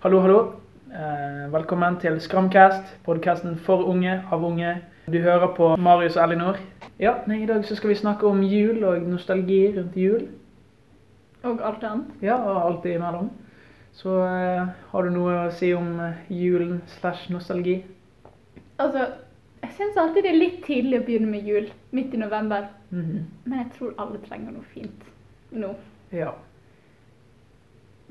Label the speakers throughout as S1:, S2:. S1: Hallo, hallo. Eh, Velkommen til Skramcast, podkasten for unge av unge. Du hører på Marius og Elinor. Ja, nei, I dag så skal vi snakke om jul og nostalgi rundt jul.
S2: Og alt annet.
S1: Ja, og alt imellom. Så eh, har du noe å si om eh, julen slash nostalgi?
S2: Altså, jeg syns alltid det er litt tidlig å begynne med jul midt i november.
S1: Mhm.
S2: Men jeg tror alle trenger noe fint nå.
S1: Ja,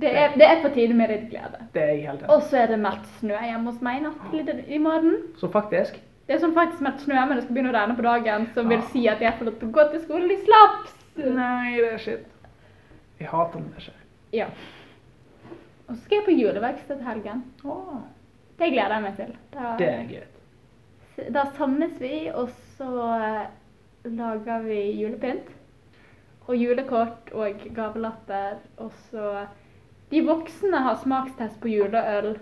S2: Det er, det er på tide med litt glede.
S1: det er jeg helt enig i.
S2: Og så er det meldt snø hjemme hos meg i natt litt i morgen.
S1: Så faktisk
S2: Det er sånn faktisk meldt snø, men det skal begynne å regne på dagen, som vil
S1: Ah. Mm.
S2: si at jeg får lov til å gå til skolen i slaps.
S1: Nei, det er shit. Jeg hater når det skjer.
S2: Ja. Og så skal jeg på juleverksted til helgen.
S1: Åh,
S2: Det gleder jeg meg til. Da,
S1: det er greit.
S2: da samles vi, og så eh, lager vi julepynt. Og julekort og gavelatter. Og så De voksne har smakstest på juleøl,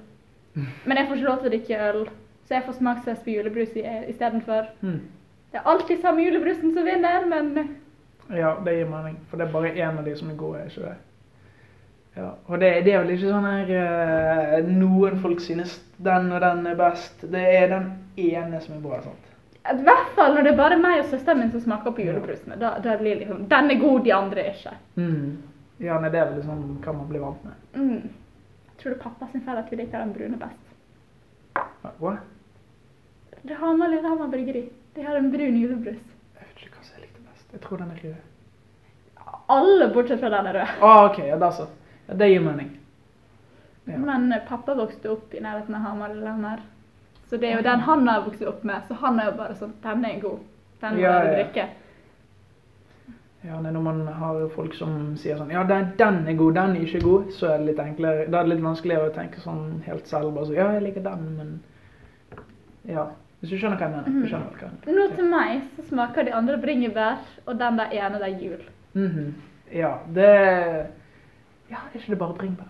S2: men jeg får ikke lov til å drikke øl, så jeg får smakstest på julebrus i- istedenfor.
S1: Hmm.
S2: Det er alltid samme julebrusen som vinner, men eh,
S1: Ja, det gir mening. For det er bare én av de som er gode, er ikke det? Ja, Og det, det er vel ikke sånn her eh, Noen folk synes den og den er best. Det er den ene som er bra. sant?
S2: i hvert fall når det er bare meg og søsteren min som smaker på julebrusene. Da, da blir det liksom Den er god, de andre er ikke.
S1: Ja, nei, det er vel liksom hva man blir vant med.
S2: Mm. Jeg tror det er pappa sin feil at vi liker den brune best.
S1: Ja, hva?
S2: Det har man Lillehammer bryggeri. De har en brun julebrus.
S1: Jeg vet ikke hva som jeg likte best. Jeg tror den er rød.
S2: Alle bortsett fra den er rød.
S1: Ah, ok, ja, da så. Ja, det gir mening. Ja.
S2: Men eh, pappa vokste opp i nærheten av Hamar Lillehammer. Så det er jo den han har vokst opp med. Så han er jo bare sånn Den er god. Den må
S1: Ja,
S2: jeg
S1: ja.
S2: drikke.
S1: Ja, nei, Når man har folk som sier sånn Ja, den, den er god, den er ikke god. Så er det litt enklere. Da er det litt vanskeligere å tenke sånn helt selv. Bare så, ja, jeg liker den, men Ja. Hvis du skjønner hva jeg mener. Du skjønner hva jeg mener.
S2: Nå til meg så smaker de andre bringebær, og den der ene det er jul.
S1: Mhm. Ja, det Ja, er ikke det bare bringebær?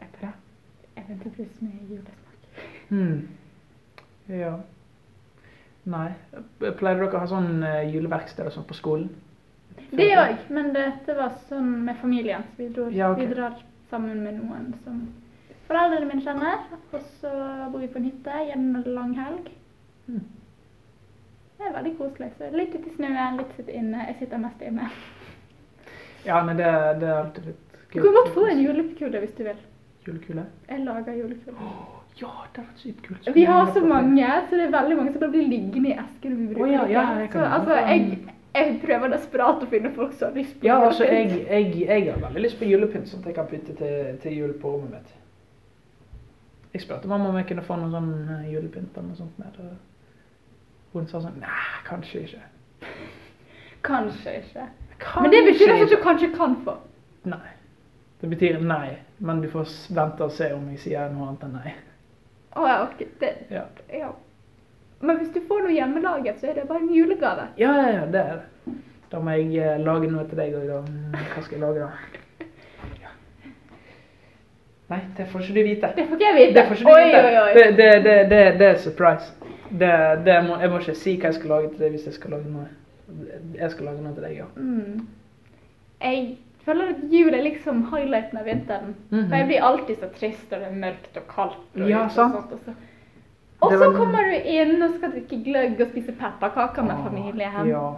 S2: Jeg prøver. Eventyrbrus med julesmak. Mm.
S1: Mhm. Ja. Nei. Pleide dere å ha sånn eh, juleverksted og sånn på skolen?
S2: Det òg, men dette var sånn med familien. Så vi, dro,
S1: Ja, ok.
S2: vi drar sammen med noen som foreldrene mine kjenner. Og så bor vi på en hytte i en lang helg.
S1: Mhm.
S2: Det er veldig koselig. Så litt ute i snøen, litt sitte inne. Jeg sitter mest inne.
S1: Ja, nei, det, det er alltid litt
S2: Du kan godt få en julekule hvis du vil.
S1: Julekule?
S2: Jeg lager julekule.
S1: Ja, det hadde vært sykt kult.
S2: Vi har så mange, så det er veldig mange som bare blir liggende i esken. Vi bruker
S1: Å, ja,
S2: ikke.
S1: ja, jeg kan
S2: så, altså,
S1: gjerne få en-
S2: jeg, jeg prøver desperat å finne folk som har lyst på
S1: Ja, altså,
S2: julepynt.
S1: jeg, jeg, jeg har veldig lyst på julepynt, sånn at jeg kan pynte til, til jul på rommet mitt. Jeg spurte mamma om jeg kunne få noen sånn eh, julepynt eller noe sånt med. Og hun sa sånn Nei, kanskje ikke.
S2: Kanskje ikke.
S1: Kanskje
S2: Men det betyr altså at
S1: ikke.
S2: du kanskje kan få.
S1: Nei. Det betyr nei, men du får s- vente og se om jeg sier noe annet enn nei.
S2: Å ja, ok. Det,
S1: Ja,
S2: ja. Men hvis du får noe hjemmelaget, så er det bare en julegave.
S1: ja, ja, ja det er det. Da må jeg eh, lage noe til deg òg, da. Mm, Hva skal jeg lage, da? Ja. Nei, det får ikke du vite.
S2: Det får ikke jeg vite.
S1: Det får ikke du vite.
S2: Oi, oi,
S1: Det,
S2: oi.
S1: det, det, det, det er surprise. Det, det må, jeg må ikke si hva jeg skal lage til deg hvis jeg skal lage noe. Jeg skal lage noe til deg, ja.
S2: Mm. Jeg føler at jul er liksom highlighten av vinteren.
S1: Mhm.
S2: For jeg blir alltid så trist, og det er mørkt og kaldt. Og
S1: Ja,
S2: ut
S1: sant.
S2: Og, sånt, og, så. og
S1: Det
S2: så
S1: var-
S2: kommer du inn og skal drikke gløgg og spise pepperkaker med familie hjem.
S1: Ah, Ja.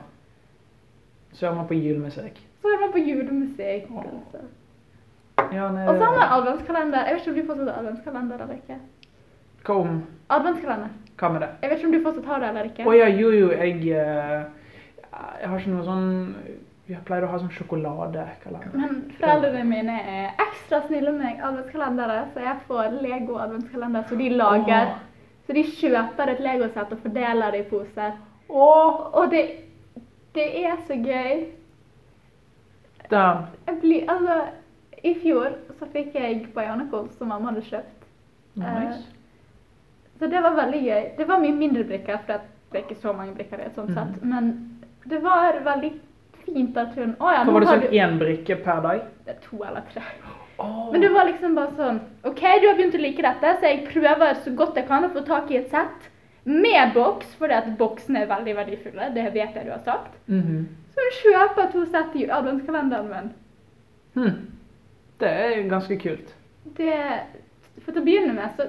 S1: Så er man på julemusikk.
S2: Så er man på julemusikk.
S1: Åh.
S2: altså.
S1: Ja, nei,
S2: Og så har man adventskalender. Jeg vet ikke om du fortsatt har adventskalender eller ikke.
S1: Hva om?
S2: Adventskalender.
S1: Hva med det?
S2: Jeg vet ikke om du fortsatt har det eller ikke.
S1: Å ja, jo jo, jeg eh, Jeg har ikke noe sånn Vi pleier å ha sånn sjokoladekalender.
S2: Men foreldrene mine er ekstra snille med meg adventskalendere, så jeg får Lego-adventskalender som de lager.
S1: Åh.
S2: Så de kjøper et Lego-sett og fordeler det i poser.
S1: Åh,
S2: Og det, det er så gøy.
S1: damn.
S2: Jeg blir, altså, I fjor så fikk jeg Bionicles som mamma hadde kjøpt. Eh,
S1: Nice.
S2: Så det var veldig gøy. Det var mye mindre brikker, for det er ikke så mange brikker i et sånt sett.
S1: Mhm.
S2: Men det var veldig fint at hun Å ja,
S1: Hva
S2: nå
S1: var det
S2: har
S1: sånn
S2: du
S1: én brikke per dag?
S2: Det er To eller tre.
S1: Åh.
S2: Men det var liksom bare sånn OK, du har begynt å like dette, så jeg prøver så godt jeg kan å få tak i et sett med boks, fordi at boksene er veldig verdifulle. Det vet jeg du har sagt.
S1: Mhm.
S2: Så hun kjøper to sett i adventskalenderen min.
S1: hm. Det er ganske kult.
S2: Det For til å begynne med, så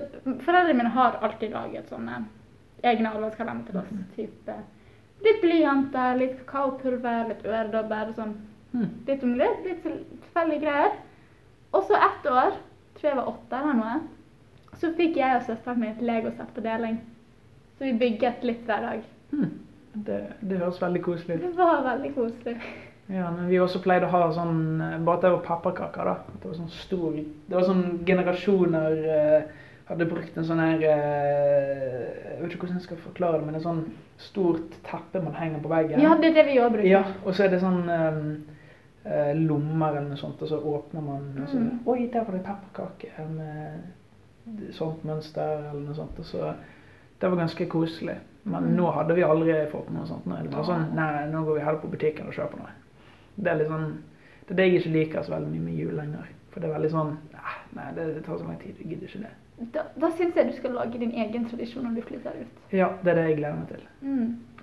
S2: Foreldrene mine har alltid laget sånne egne adventskalender til oss. Type litt blyanter, litt kakaopulver, litt øredobber og sånn.
S1: Hmm.
S2: Litt om litt, litt til- tilfeldige greier. Og så ett år, tror jeg var åtte eller noe, så fikk jeg og søsteren min et legosett på deling. Så vi bygget litt hver dag.
S1: Hmm. Det, det høres veldig koselig ut.
S2: Det var veldig koselig.
S1: Ja, men vi også pleide å ha sånn eh, Bare at det var pappakaker, da. At det var sånn stor Det var sånn generasjoner eh, hadde brukt en sånn her eh, Jeg vet ikke hvordan jeg skal forklare det, men et sånn stort teppe man henger på veggen.
S2: Ja, det er det vi òg bruker.
S1: Ja, og så er det sånn eh, eh, lommer eller noe sånt, og så åpner man og så,
S2: Mm.
S1: Oi, der var det pepperkake med sånt mønster eller noe sånt. Og så, det var ganske koselig. Men
S2: Mm.
S1: nå hadde vi aldri fått noe sånt. Nå er det bare sånn Nei, nå går vi heller på butikken og kjøper noe. Det er litt sånn Det er det jeg ikke liker så veldig mye med jul lenger. For det er veldig sånn "Ah, Nei, det tar så lang tid. Jeg gidder ikke det.
S2: Da, da syns jeg du skal lage din egen tradisjon når du flytter ut. Mm.
S1: Ja, det er det jeg gleder meg til.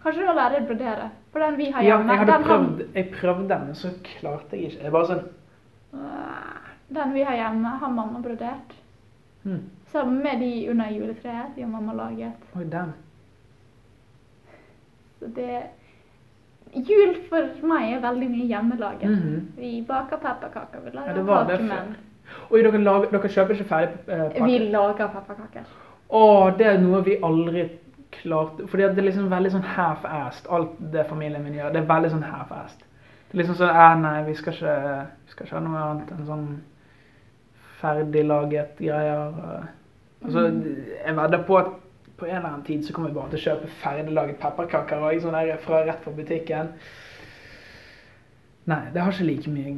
S2: Kanskje du har lært å brodere? For den vi har
S1: Ja,
S2: hjemme,
S1: jeg hadde
S2: Ah, den, han-
S1: prøvd, jeg prøvde den, men så klarte jeg ikke. Jeg bare sånn
S2: Øh, den vi har hjemme, har mamma brodert. Mm.
S1: hm,
S2: Sammen med de under juletreet de har mamma laget.
S1: Oi, damn.
S2: Så det Jul for meg er veldig mye hjemmelaget.
S1: Mhm.
S2: Vi baker pepperkaker. Vi lager
S1: Ja, det var det
S2: kakemenn.
S1: Oi, dere, lager, dere kjøper ikke ferdig eh,
S2: Vi
S1: pakke?
S2: lager pepperkaker.
S1: Å, det er noe vi aldri klarte. Fordi at det er liksom veldig sånn half-assed, alt det familien min gjør. Det er veldig sånn half-assed. Det er liksom sånn eh, Nei, vi skal ikke, vi skal ikke ha noe annet enn sånn ferdiglaget greier. eh. Altså, jeg vedder på at på en eller annen tid så kommer vi bare til å kjøpe ferdiglaget pepperkaker og sånn der fra rett fra butikken. Nei, det har ikke like mye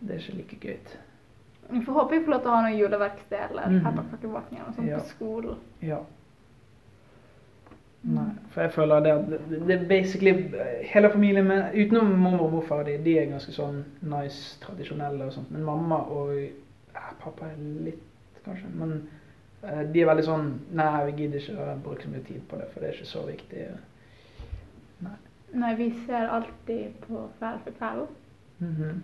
S1: Det er ikke like gøy.
S2: Vi får håpe vi får lov til å ha noe juleverksted eller
S1: Mhm.
S2: pepperkakebaking eller noe sånt
S1: Ja.
S2: på skolen.
S1: Ja. Nei, for jeg føler det at det- det er basically Hele familien min, utenom mormor og morfar, de, de er ganske sånn nice, tradisjonelle og sånt. Men mamma og eh, pappa er litt, kanskje. Men eh, de er veldig sånn Nei, vi gidder ikke å bruke så mye tid på det, for det er ikke så viktig.
S2: Nei, vi ser alltid på Kveld for kveld.
S1: Mhm.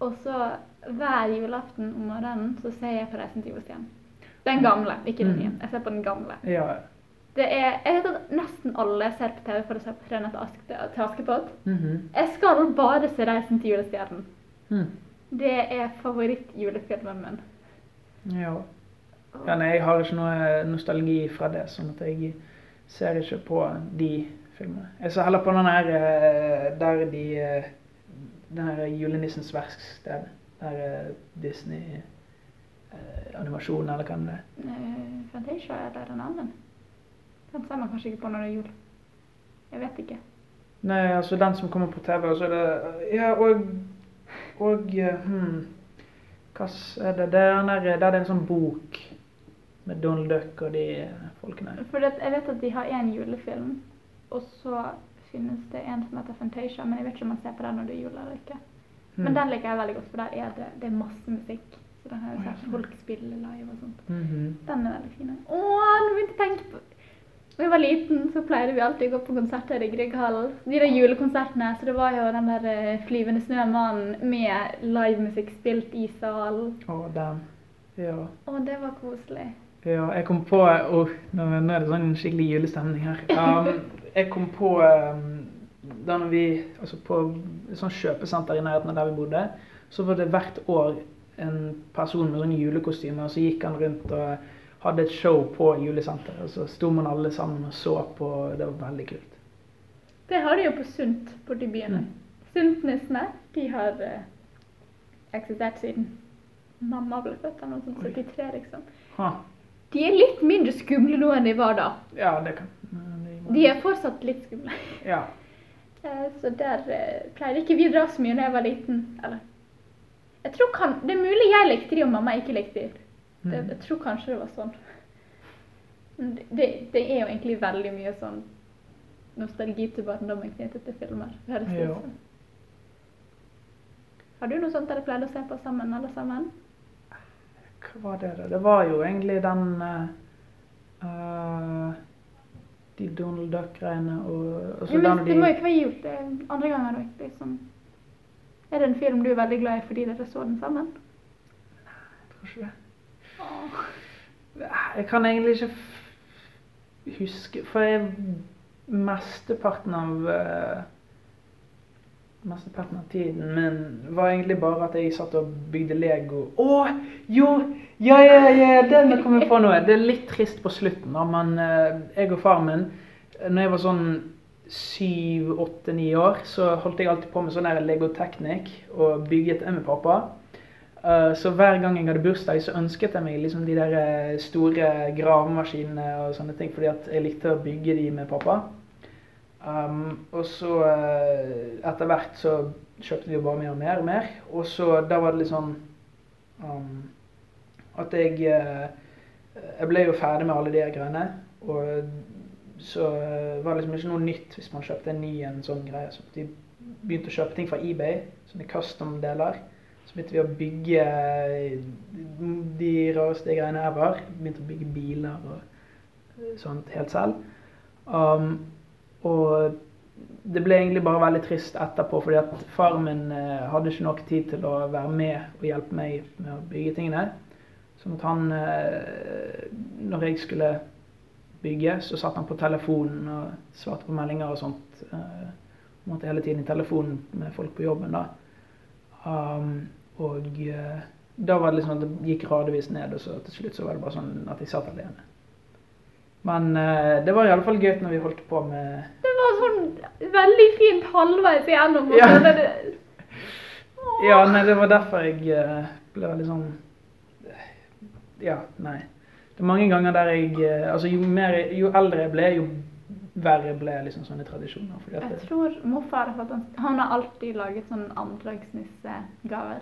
S2: Og så hver julaften om morgenen så ser jeg på Reisen til Jostien. Den gamle, ikke den
S1: Mm.
S2: nye. Jeg ser på den gamle.
S1: Ja.
S2: Det er, jeg vet at nesten alle ser på TV for å se på 'Tre netter Ask- til Askepott'.
S1: mhm.
S2: Jeg skal bare se 'Reisen til julestjernen'.
S1: Mhm.
S2: Det er favorittjulefilmen min.
S1: ja. Ja, nei, jeg har ikke noe nostalgi fra det, sånn at jeg ser ikke på de filmene. Jeg ser heller på den her eh, der de eh, Den her julenissens verksted. eh, Den her Disney-animasjonen, eh, eller hva det er.
S2: Eh, Fantasia eller en annen. Den ser man kanskje ikke på når det er jul. Jeg vet ikke.
S1: Nei, altså den som kommer på TV, og så er det eh, Ja, og Og eh, hmm, Hva s- er det? Det er den der, der det er en sånn bok med Donald Duck og de eh, folkene.
S2: For det, jeg vet at de har én julefilm, og så finnes det en som heter Fantasia, men jeg vet ikke om man ser på den når det er jul eller ikke.
S1: Hmm.
S2: Men den liker jeg veldig godt, for der er det, det er masse musikk. Så den har jeg
S1: Å, ja,
S2: sett
S1: sånn.
S2: folk spille live og sånt.
S1: Mhm.
S2: Den er veldig fin. Å, nå begynte jeg å tenke på Da jeg var liten, så pleide vi alltid å gå på konserter i Grieghallen. De der julekonsertene, så det var jo den der eh, Flyvende snømannen med livemusikk spilt i salen.
S1: Og den. Ja.
S2: Å, det var koselig.
S1: Ja, jeg kom på oh, nå, nå er det sånn skikkelig julestemning her. Um, jeg kom på um, da når vi, altså på et sånt kjøpesenter i nærheten av der vi bodde, så var det hvert år en person med sånn julekostyme, og så gikk han rundt og hadde et show på julesenteret. Og så sto man alle sammen og så på, og det var veldig kult.
S2: Det har de jo på Sunt borti byen.
S1: Mm.
S2: Suntnissene de har eh, eksistert siden mamma ble født, eller noe sånt,
S1: Oi.
S2: 73 liksom.
S1: Ha.
S2: De er litt mindre skumle nå enn de var da.
S1: Ja, det kan
S2: De er fortsatt litt skumle.
S1: Ja.
S2: Eh, Så der eh, pleide ikke vi å dra så mye da jeg var liten. Eller jeg tror kan, Det er mulig jeg likte de og mamma ikke likte de. Det,
S1: Mm.
S2: jeg tror kanskje det var sånn. Men Det, det, det er jo egentlig veldig mye sånn nostalgi til barndommen knyttet til filmer. høres det ut
S1: Ja.
S2: som. Har du noe sånt dere pleide å se på sammen, alle sammen?
S1: Hva var det da? Det var jo egentlig den eh, eh, De Donald Duck-greiene og, og så
S2: Ja,
S1: den
S2: men
S1: og
S2: det må jo
S1: de
S2: ikke være gjort det er andre ganger. da, ikke Liksom. Er det en film du er veldig glad i fordi dere så den sammen?
S1: Tror ikke det.
S2: Åh.
S1: Jeg kan egentlig ikke f- huske For jeg, mesteparten av eh, Mesteparten av tiden min var egentlig bare at jeg satt og bygde Lego. Å, jo! Ja, ja, ja, den kom jeg på nå. Det er litt trist på slutten, da, men eh, jeg og faren min eh, når jeg var sånn syv, åtte, ni år, så holdt jeg alltid på med sånn der legoteknikk og bygget det med pappa. Eh, Så hver gang jeg hadde bursdag, så ønsket jeg meg liksom de der eh, store gravemaskinene og sånne ting, fordi at jeg likte å bygge de med pappa. Um, og så eh, etter hvert så kjøpte vi jo bare mer og mer og mer. Og så da var det litt sånn um, at jeg eh, Jeg ble jo ferdig med alle de her greiene. Og så eh, var det liksom ikke noe nytt hvis man kjøpte en ny en sånn greie. Så de begynte å kjøpe ting fra eBay, sånne custom-deler. Så begynte vi å bygge eh, de rareste greiene ever. Begynte å bygge biler og eh, sånt helt selv. Um, og det ble egentlig bare veldig trist etterpå, fordi at faren min eh, hadde ikke nok tid til å være med og hjelpe meg med å bygge tingene. Sånn at han eh, Når jeg skulle bygge, så satt han på telefonen og svarte på meldinger og sånt. eh, Han måtte hele tiden i telefonen med folk på jobben, da. Um, og eh, da var det liksom at det gikk gradvis ned, og så til slutt så var det bare sånn at jeg satt alene. Men eh, det var iallfall gøy når vi holdt på med
S2: Det var sånn veldig fint halvveis igjennom. og
S1: Ja.
S2: så er det- Åh.
S1: Ja, nei, det var derfor jeg eh, ble veldig sånn Ja, nei. Det er mange ganger der jeg eh, Altså, jo, mer, jo eldre jeg ble, jo verre ble liksom sånne tradisjoner. Fordi at
S2: Jeg
S1: det,
S2: tror morfar har fått en- Han har alltid laget sånn andredagsnissegaver.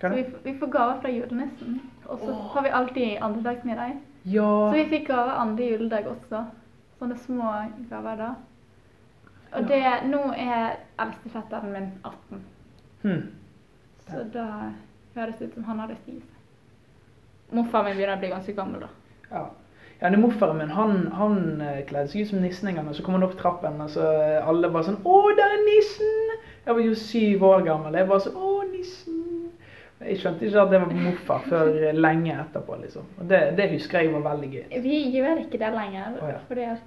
S2: Så
S1: hva
S2: vi,
S1: er det?
S2: f- vi får gaver fra julenissen. Og så
S1: Åh.
S2: har vi alltid andredagsmiddag.
S1: Ja
S2: Så vi fikk gaver andre juledag også. Sånne små gaver da. Og det, nå er eldstefetteren min 18,
S1: hm.
S2: så da høres det ut som han hadde spist. Morfar min begynner å bli ganske gammel, da.
S1: Ja. Ja, det er Morfaren min han, han eh, kledde seg ut som nissen en gang, og så kom han opp trappen, og så eh, alle bare sånn 'Å, der er nissen!' Jeg var jo syv år gammel. Jeg bare sånn 'Å, nissen!' Jeg skjønte ikke at det var morfar før eh, lenge etterpå, liksom. Og det, det husker jeg var veldig gøy.
S2: Vi gjør ikke det lenger,
S1: Å, ja.
S2: fordi at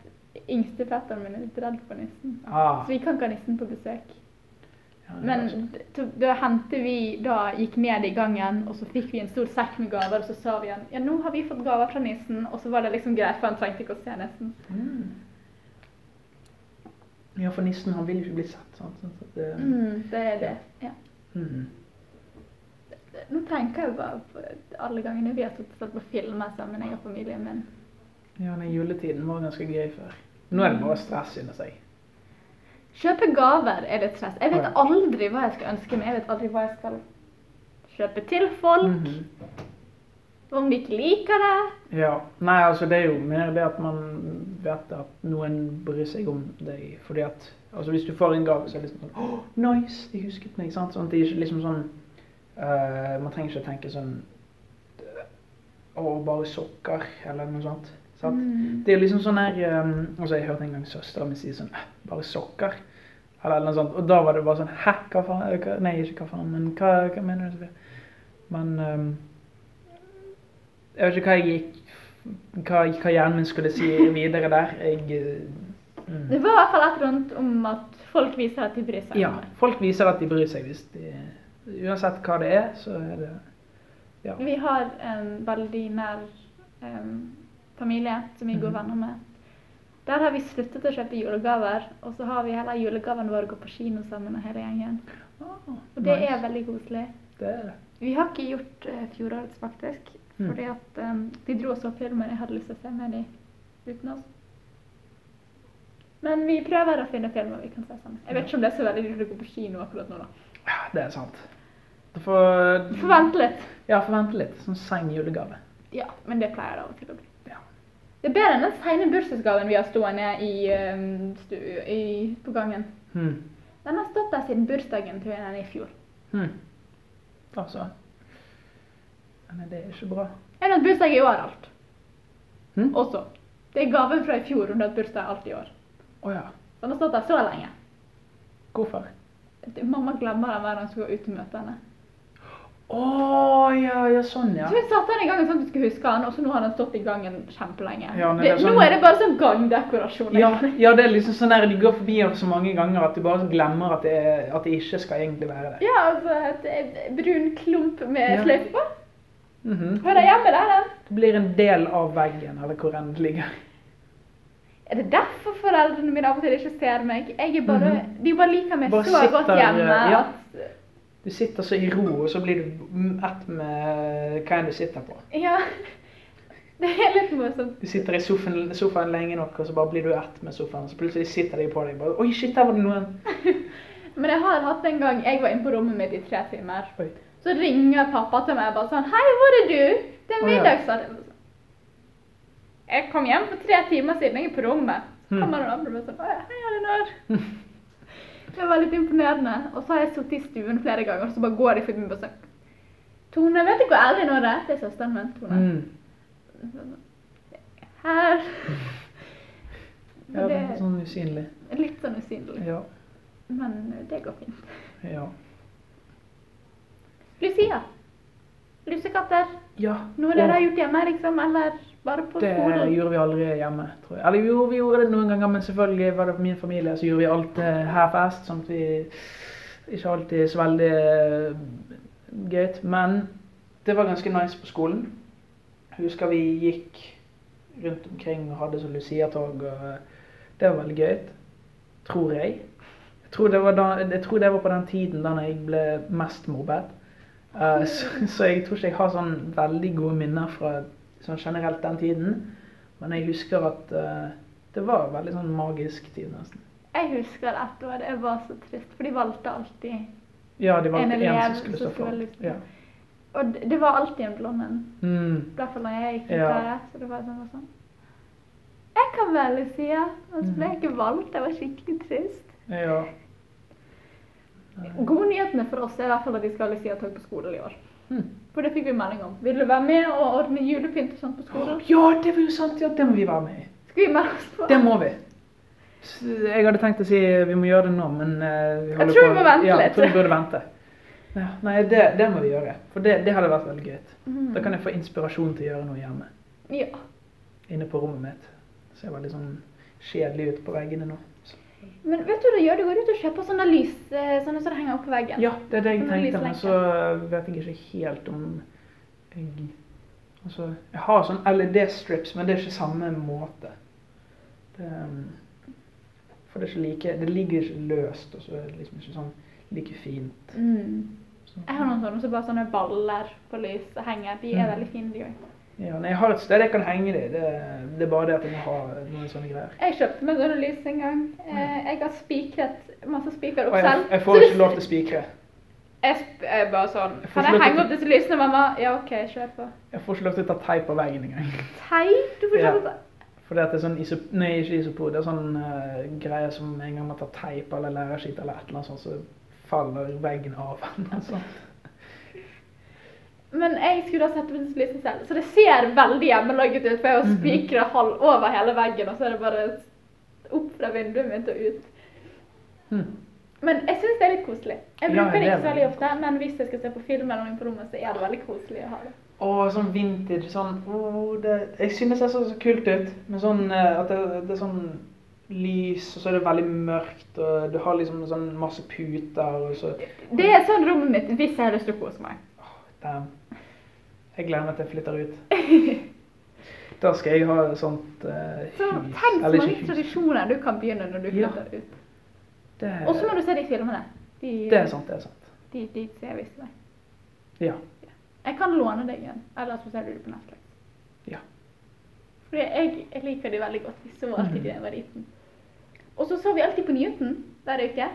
S2: yngstefetteren min er litt redd for nissen.
S1: Ah,
S2: Så vi kan ikke ha nissen på besøk.
S1: ja, det var sånn.
S2: Men d- t- da hendte vi da gikk ned i gangen, og så fikk vi en stor sekk med gaver, og så sa vi igjen ja, nå har vi fått gaver fra nissen, og så var det liksom greit, for han trengte ikke å se nissen.
S1: Mm. Ja, for nissen han vil jo ikke bli sett. sant? Sånn at det,
S2: Mm, det er det. Ja.
S1: Mhm.
S2: Nå tenker jeg bare på alle gangene vi har sittet og sett på filmer sammen, jeg og familien min.
S1: ja den juletiden var ganske gøy før. Nå er det bare stress, synes jeg.
S2: Kjøpe gaver er litt stress. Jeg
S1: Ja.
S2: vet aldri hva jeg skal ønske meg, jeg vet aldri hva jeg skal kjøpe til folk,
S1: Mhm. Mm.
S2: om de ikke liker det.
S1: Ja. Nei, altså det er jo mer det at man vet at noen bryr seg om deg. Fordi at altså hvis du får en gave, så er det liksom sånn Åh, nice! De husket meg. sant? Sånn, at det er ikke liksom sånn eh, Man trenger ikke tenke sånn Å, bare sokker, eller noe sånt. sant?
S2: Mm.
S1: Det er liksom sånn her eh, altså Jeg hørte en gang søstera mi si sånn «Eh, Bare sokker. Eller noe sånt. Og da var det bare sånn Hæ, hva faen? Eh, Hva? Nei, ikke hva faen, men hva, hva mener du? Sofie?» Men eh, Jeg vet ikke hva jeg gikk hva, hva hjernen min skulle si videre der. Jeg eh,
S2: Det
S1: mm.
S2: var i hvert fall et rundt om at folk viser at de bryr seg. om
S1: Ja.
S2: det.
S1: Folk viser at de bryr seg hvis de Uansett hva det er, så er det Ja.
S2: Vi har en veldig nær em, familie som vi er gode
S1: Mhm.
S2: venner med. Der har vi sluttet å kjøpe julegaver, og så har vi heller julegaven vår å gå på kino sammen med hele gjengen.
S1: Ah,
S2: Og det
S1: nice.
S2: er veldig koselig.
S1: Det er det.
S2: Vi har ikke gjort eh, fjorårets, faktisk.
S1: Mm.
S2: Fordi at em, de dro og så filmer jeg hadde lyst til å se med de uten oss. Men vi prøver å finne filmer vi kan se sammen. Jeg vet ikke om det er så veldig lurt å gå på kino akkurat nå, da.
S1: Ja, det er sant. Du får
S2: Vi får vente litt.
S1: Ja, får vente litt. Sånn seng julegave.
S2: Ja, men det pleier det av og til å bli.
S1: Ja.
S2: Det er bedre enn den seine bursdagsgaven vi har stående i, ehm, stu, i, på gangen.
S1: Hmm.
S2: Den har stått der siden bursdagen til henne i fjor.
S1: Hmm. Altså Nei, det er ikke bra.
S2: Jeg har hatt bursdag i år alt,
S1: Hm? Å
S2: også. Det er gaven fra i fjor, hun har hatt bursdag alt i år.
S1: ja.
S2: Så Den har stått der så lenge.
S1: Hvorfor?
S2: Det- Mamma glemmer den hver gang hun skal gå ut og møte henne.
S1: Å Å ja, ja, sånn, ja.
S2: Så hun satte den i gangen sånn at du skulle huske den, og så nå har den stått i gangen kjempelenge.
S1: Ja, men
S2: det,
S1: det er sånn-
S2: Nå er det bare sånn gangdekorasjon.
S1: Ja,
S2: egentlig.
S1: ja, det er liksom sånn der du går forbi den så mange ganger at du bare glemmer at det, at det ikke skal egentlig være der.
S2: ja altså et, et brun klump med
S1: Ja.
S2: sløyfe på.
S1: Mhm.
S2: Hører hjemme der, den.
S1: Det blir en del av veggen, eller hvor enn det ligger.
S2: Er det derfor foreldrene mine av og til ikke ser meg? Jeg er bare,
S1: Mhm.
S2: De bare liker meg
S1: Bare
S2: så godt
S1: sitter,
S2: hjemme
S1: ja.
S2: at
S1: Du sitter så i ro, og så blir du m- ett med hva enn du sitter på.
S2: Ja. Det er litt morsomt.
S1: Du sitter i sofaen, sofaen lenge nok, og så bare blir du ett med sofaen. Så plutselig sitter de på deg bare Oi, shit, der var det noen.
S2: Men jeg har hatt en gang jeg var inne på rommet mitt i tre timer.
S1: Oi.
S2: Så ringer pappa til meg bare sånn Hei, hvor er du? Det er
S1: Å, ja.
S2: middagsstund. Jeg bare sånn, Jeg kom hjem for tre timer siden, jeg er på rommet. Så
S1: Hmm.
S2: kommer den andre og bare sånn Å ja, hei, Elinor. Det var litt imponerende. Og så har jeg sittet i stuen flere ganger, og så bare går de forbi meg og sånn Tone, vet du hvor Elinor er? Det er søsteren min, Tone.
S1: Mm.
S2: Her.
S1: Ja,
S2: Men
S1: det er
S2: det
S1: sånn usynlig.
S2: er litt sånn usynlig.
S1: Ja.
S2: Men det går fint.
S1: Ja.
S2: Lucia. Lusekatter.
S1: ja.
S2: Noe dere
S1: og
S2: har gjort hjemme, liksom? Eller bare på
S1: det
S2: skolen?
S1: gjorde vi aldri hjemme, tror jeg. Eller jo, vi gjorde det noen ganger, men selvfølgelig var det min familie, så gjorde vi alt eh, her fast, sånn at vi ikke alltid så veldig eh, gøy. Men det var ganske nice på skolen. Jeg husker vi gikk rundt omkring og hadde sånn Lucia-tog, og det var veldig gøy, tror jeg. Jeg tror, det var da, jeg tror det var på den tiden da jeg ble mest mobbet. Eh, så, så jeg tror ikke jeg har sånn veldig gode minner fra sånn generelt den tiden. Men jeg husker at eh, det var en veldig sånn magisk tid, nesten.
S2: Jeg husker ett år jeg var så trist, for de valgte alltid
S1: Ja, det var
S2: en
S1: alltid en
S2: elev
S1: som skulle stå for.
S2: liksom-
S1: Ja.
S2: Og det- det var alltid en blond en.
S1: Mm.
S2: I hvert fall da jeg gikk ut
S1: Ja.
S2: der. Så det var sånn, bare sånn Jeg kan være Lucia. Og så ble jeg ikke valgt. Jeg var skikkelig trist.
S1: ja.
S2: Gode nyhetene for oss er i hvert fall at vi skal ha Lucia-tog på skolen i år.
S1: Mm.
S2: For det fikk vi melding om. Vil du være med og ordne julepynt og sånt på skolen?
S1: ja, det var jo sant! Ja, det må vi være med i.
S2: Skal vi melde oss på?
S1: Det må vi. S- Jeg hadde tenkt å si vi må gjøre det nå, men eh, vi holder
S2: tror vi
S1: på-
S2: må vente
S1: ja,
S2: litt.
S1: Jeg tror vi burde vente. Ja, nei, det, det må vi gjøre. For det, det hadde vært veldig gøy.
S2: Mm.
S1: Da kan jeg få inspirasjon til å gjøre noe hjemme.
S2: Ja.
S1: Inne på rommet mitt. Ser veldig sånn kjedelig ut på veggene nå. Så.
S2: Men vet du hva du gjør? Du går ut og kjøper sånne lys, eh, sånne som henger opp på veggen.
S1: Ja, det er det jeg
S2: Sånn
S1: tenkte, men
S2: lyslenke.
S1: så vet jeg ikke helt om jeg Altså, jeg har sånn LED-strips, men det er ikke samme måte. Det, um, for det er ikke like Det ligger ikke løst, og så er det liksom ikke sånn like fint.
S2: Mm.
S1: Så.
S2: Jeg har noen sånne som bare sånne baller på lys og henger. De er
S1: Mm.
S2: veldig fine, de òg.
S1: Ja, nei, jeg har et sted jeg kan henge det i. Det, det er bare det at jeg må ha noen sånne greier.
S2: Jeg kjøpte meg sånne lys en gang. Eh, jeg har spikret masse spiker
S1: Og
S2: opp
S1: jeg,
S2: selv.
S1: Hmm. jeg får ikke lov til å spikre.
S2: Jeg, sp jeg bare sånn
S1: Jeg får
S2: Kan
S1: ikke lov til
S2: jeg henge
S1: å-
S2: opp disse lysene, mamma? Ja, OK, kjør på.
S1: Jeg får ikke lov til å ta teip på veggen engang.
S2: Teip? Du får
S1: Ja.
S2: kjøpe det.
S1: Fordi at det er sånn iso... Nei, ikke isopor. Det er sånn eh, greier som en gang man tar teip eller lærerskitt eller et eller annet sånt, så faller veggen av. eller sånn. noe sånt.
S2: Men jeg skulle ha satt opp disse lysene selv, så det ser veldig hjemmelaget ut. For jeg har
S1: Mhm.
S2: spikret halv over hele veggen, og så er det bare opp fra vinduet mitt og ut.
S1: Hm.
S2: Men jeg syns det er litt koselig.
S1: Ja,
S2: Jeg bruker det
S1: det er
S2: ikke så veldig
S1: veldig
S2: ofte, men hvis jeg skal se på film eller noe på rommet, så er det veldig koselig å ha det.
S1: Og sånn vintage sånn oh, det, Jeg synes det ser så kult ut. Men sånn eh, at det, det er sånn lys, og så er det veldig mørkt, og du har liksom sånn masse puter, og så
S2: Det er sånn rommet mitt hvis jeg har lyst til å kose meg.
S1: Damn. Jeg gleder meg til jeg flytter ut. Da skal jeg ha sånt eh,
S2: Så
S1: hus.
S2: tenk så
S1: Eller
S2: mange
S1: ikke hus.
S2: tradisjoner du kan begynne når du
S1: Ja.
S2: flytter ut.
S1: Det,
S2: Og så må du se de filmene. De,
S1: det er sant, det er sant.
S2: De, de ser jeg visste deg.
S1: Ja.
S2: Jeg kan låne deg en, eller så ser du det på Netflix.
S1: Ja.
S2: Fordi jeg, jeg liker de veldig godt. Vi så
S1: Mhm.
S2: alltid de da jeg var liten. Og så så vi alltid på Newton hver uke.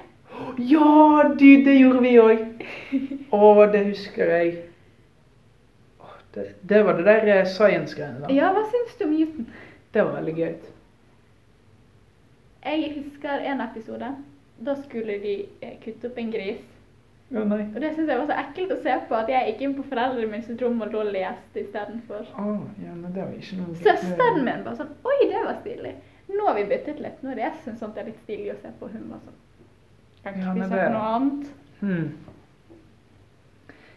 S1: Ja, du, det gjorde vi òg. Å, det husker jeg. Å, Det, det var det der eh, science-greiene. da.
S2: Ja, hva syns du om Newton?
S1: Det var veldig gøy.
S2: Jeg husker en episode. Da skulle de eh, kutte opp en gris.
S1: Å nei.
S2: Og det syns jeg var så ekkelt å se på at jeg gikk inn på foreldrene mine sitt rom og lå og leste istedenfor.
S1: Å, ja, men det var ikke noe
S2: Søsteren min bare sånn Oi, det var stilig. Nå har vi byttet litt. Nå er det jeg syns sånt er litt stilig å se på. Hun var sånn Kan
S1: Ja,
S2: ikke vi
S1: men
S2: se
S1: det-
S2: på noe annet?
S1: Hmm.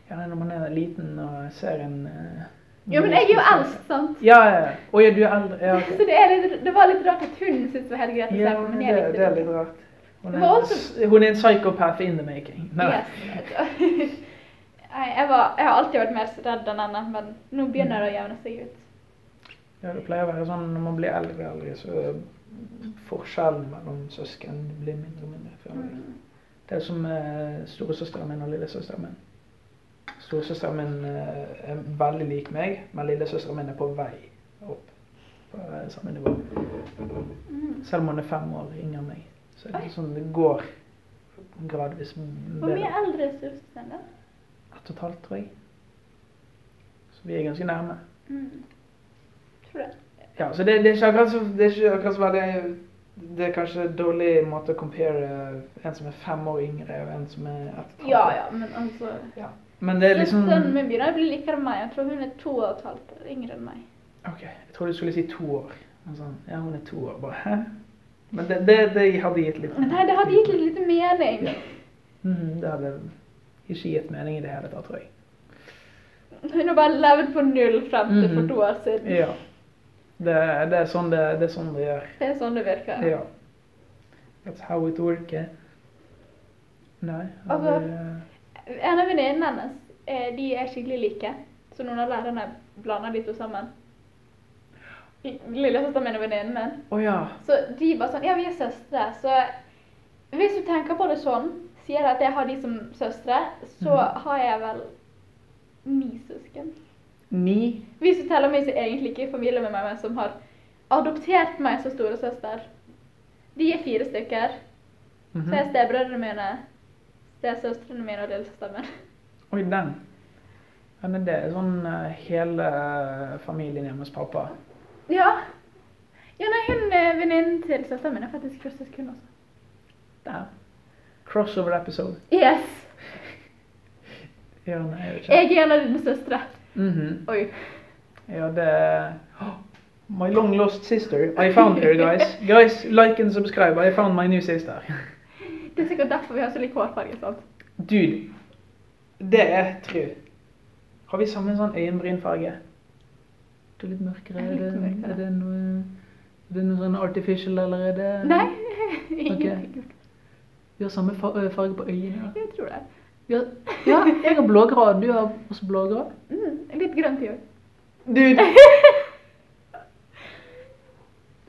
S1: Ja, nei, når man er liten og ser en eh,
S2: Jo, men jeg er jo eldst, sant?
S1: Ja, ja, ja. Å ja, du er eldre. Ja, ok.
S2: Så det, er litt, det var litt rart at hun syntes det var helt greit å se
S1: ja
S2: på, men
S1: det,
S2: jeg
S1: det
S2: likte
S1: er
S2: det.
S1: litt rart. Hun
S2: Det
S1: er,
S2: var
S1: en
S2: også-
S1: s- hun er en psychopath in the making. Nei.
S2: Yes. Nei, jeg, var, jeg har alltid vært mer redd enn henne, men nå begynner det å jevne seg ut.
S1: Ja, det pleier å være sånn når man blir eldre, og eldre så forskjellen mellom søsken blir mindre og mindre. føler
S2: Mm.
S1: jeg. Det er som eh, storesøsteren min og lillesøsteren min. Storesøsteren min eh, er veldig lik meg, men lillesøsteren min er på vei opp på eh, samme nivå.
S2: Mm.
S1: Selv om hun er fem år yngre enn meg. Så er
S2: Oi.
S1: det sånn det går gradvis
S2: Hvor mye
S1: bedre.
S2: eldre er storesøsteren din?
S1: Ett og et halvt, tror jeg. Så vi er ganske nærme.
S2: Mm. Tror du?
S1: Ja, så det, det er ikke akkurat så, det er ikke akkurat så veldig Det er kanskje en dårlig måte å compare eh, en som er fem år yngre, og en som er ett og et halvt.
S2: Ja ja, men altså
S1: Men det er liksom
S2: Søsteren min begynner å bli likere enn meg. Jeg tror hun er to og et halvt år yngre enn meg.
S1: Ok, jeg trodde du skulle si to år. Men sånn, ja, hun er to år, bare hæ? Men det, det, det hadde gitt litt
S2: Nei, det hadde gitt litt lite mening.
S1: Ja. Mhm, Det hadde ikke gitt mening i det hele tatt, tror jeg.
S2: Hun har bare levd på null frem til for
S1: Mhm.
S2: to år siden.
S1: Ja. Det, det, er, sånn det, det er sånn det gjør.
S2: Det er sånn det virker.
S1: Ja. That's how it works. Nei. har
S2: Altså-
S1: vi,
S2: En av venninnene hennes eh, de er skikkelig like, så noen av lærerne blander de to sammen. Lillesøsteren min og venninnen min.
S1: eh, Å ja.
S2: Så de var sånn Ja, vi er søstre, så hvis du tenker på det sånn, sier at jeg har de som søstre, så
S1: Mhm.
S2: har jeg vel ni søsken.
S1: Ni.
S2: Hvis du teller meg som egentlig ikke er i familie med meg, men som har adoptert meg som storesøster. De er fire stykker.
S1: Mhm.
S2: Så er stebrødrene mine, stesøstrene mine og lillesøsteren min.
S1: Oi, den. Ja, men det er sånn eh, hele eh, familien hjemme hos pappa.
S2: Ja. Ja, nei, hun eh, venninnen til søsteren min er faktisk krossisk hun også.
S1: Der. Crossover episode.
S2: Yes!
S1: Ja, nei, jeg vet ikke.
S2: Jeg er en av dine søstre.
S1: Mhm.
S2: Oi.
S1: Ja, det Åh, My long lost sister. I found her, guys. Guys, like and subscribe. I found my new sister.
S2: Det er sikkert derfor vi har så lik hårfarge. sant?
S1: Dude, det er tru. Har vi samme sånn øyenbrynfarge? Du er litt mørkere.
S2: Jeg er litt
S1: er, det,
S2: mørkere.
S1: er, det noe, er det noe sånn artificial, eller er det
S2: Nei. Ingenting.
S1: Vi har samme fa- ø, farge på øynene.
S2: Jeg tror det.
S1: Vi har, ja, jeg har blågrå, du har også blågrå.
S2: Mm, litt grønt i år.
S1: Dude!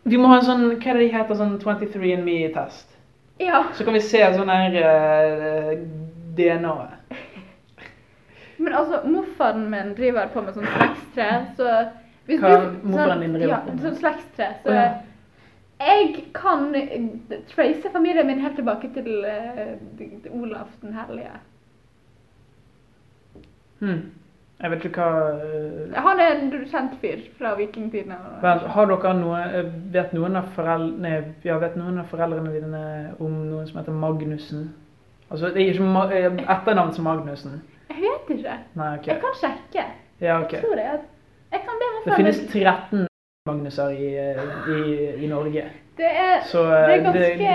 S1: Vi må ha en sånn, hva er det de heter, sånn 23andMe-test.
S2: Ja.
S1: Så kan vi se sånn her eh, DNA-et.
S2: Men altså, morfaren min driver på med sånn slektstre, så hvis
S1: Hva
S2: du,
S1: morfaren din driver
S2: ja,
S1: på med?
S2: Sånn slektstre, så
S1: Å, ja.
S2: Jeg kan eh, trace familien min helt tilbake til eh, Olav den hellige.
S1: Hmm. Jeg vet ikke hva... eh,
S2: Han er en kjent fyr fra vikingtiden. eller noe.
S1: Vent, har dere noe, eh, vet noen av foreldrene, nei, ja, vet noen av foreldrene dine om noen som heter Magnussen? Altså, det er ikke Ma- eh, etternavn som Magnussen.
S2: Jeg vet ikke.
S1: Nei,
S2: Jeg
S1: ok.
S2: kan sjekke.
S1: Ja,
S2: Jeg
S1: ok.
S2: tror det. at- Jeg kan be
S1: Det
S2: morfaren
S1: finnes
S2: min
S1: 13 Magnuser i, i, i Norge.
S2: Det er,
S1: Så
S2: det er
S1: eh,
S2: ganske,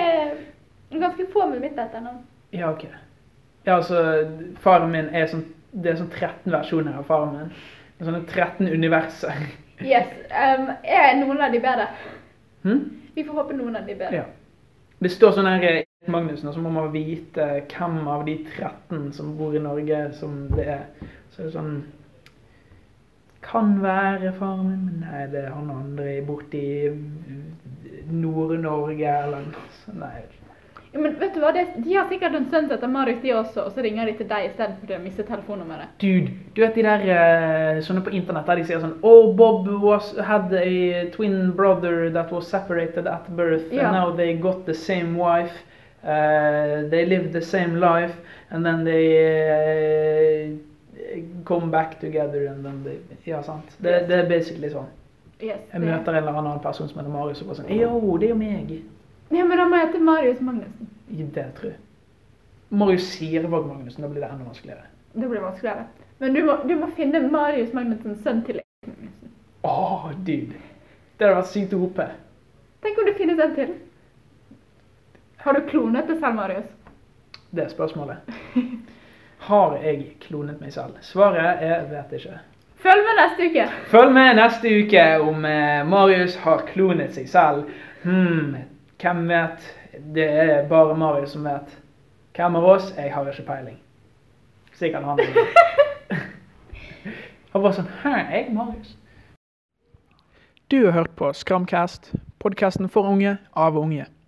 S2: ganske få med mitt etternavn.
S1: Ja, ok. Ja, altså, faren min er sånn Det er sånn 13 versjoner av faren min. Det er Sånne 13 universer.
S2: Yes. em, er noen av de bedre?
S1: Hm?
S2: Vi får håpe noen av de er
S1: Ja.
S2: bedre.
S1: Det står sånn her eh, Magnussen, og så må man vite hvem av de 13 som bor i Norge, som det er. Så er det sånn Kan være faren min, men nei, det er han andre borti Nord-Norge eller noe sånt. Nei.
S2: Ja, men vet du hva, det, De har sikkert en sønn som heter Marius, de også, og så ringer de til deg istedenfor til å miste telefonnummeret.
S1: Dude, du vet de der eh, sånne på internett der de sier sånn Oh, Bob was, had a twin brother that was separated at birth
S2: Ja.
S1: And now they got the same wife eh, They lived the same life And then they eh, come back together and then they, Ja, sant? Det, det er basically sånn
S2: Yes,
S1: Jeg møter en eller annen person som heter Marius og bare sånn Yo, det er jo meg
S2: Ja, men han må hete Marius Magnussen.
S1: Det tror jeg Marius sier Våg Magnussen, da blir det enda vanskeligere
S2: Det blir vanskeligere. Men du må, du må finne Marius Magnussens sønn til Erik Magnussen.
S1: Åh, dude Det hadde vært sykt å hoppe
S2: Tenk om det finnes en til. Har du klonet det selv, Marius?
S1: Det er spørsmålet. Har jeg klonet meg selv? Svaret er vet ikke.
S2: Følg med neste uke!
S1: Følg med neste uke om eh, Marius har klonet seg selv. Hmm, hvem vet? Det er bare Marius som vet. Hvem av oss? Jeg har ikke peiling. Sikkert han. Han var sånn Hæ, jeg, Marius? Du har hørt på Skramcast, podkasten for unge av unge.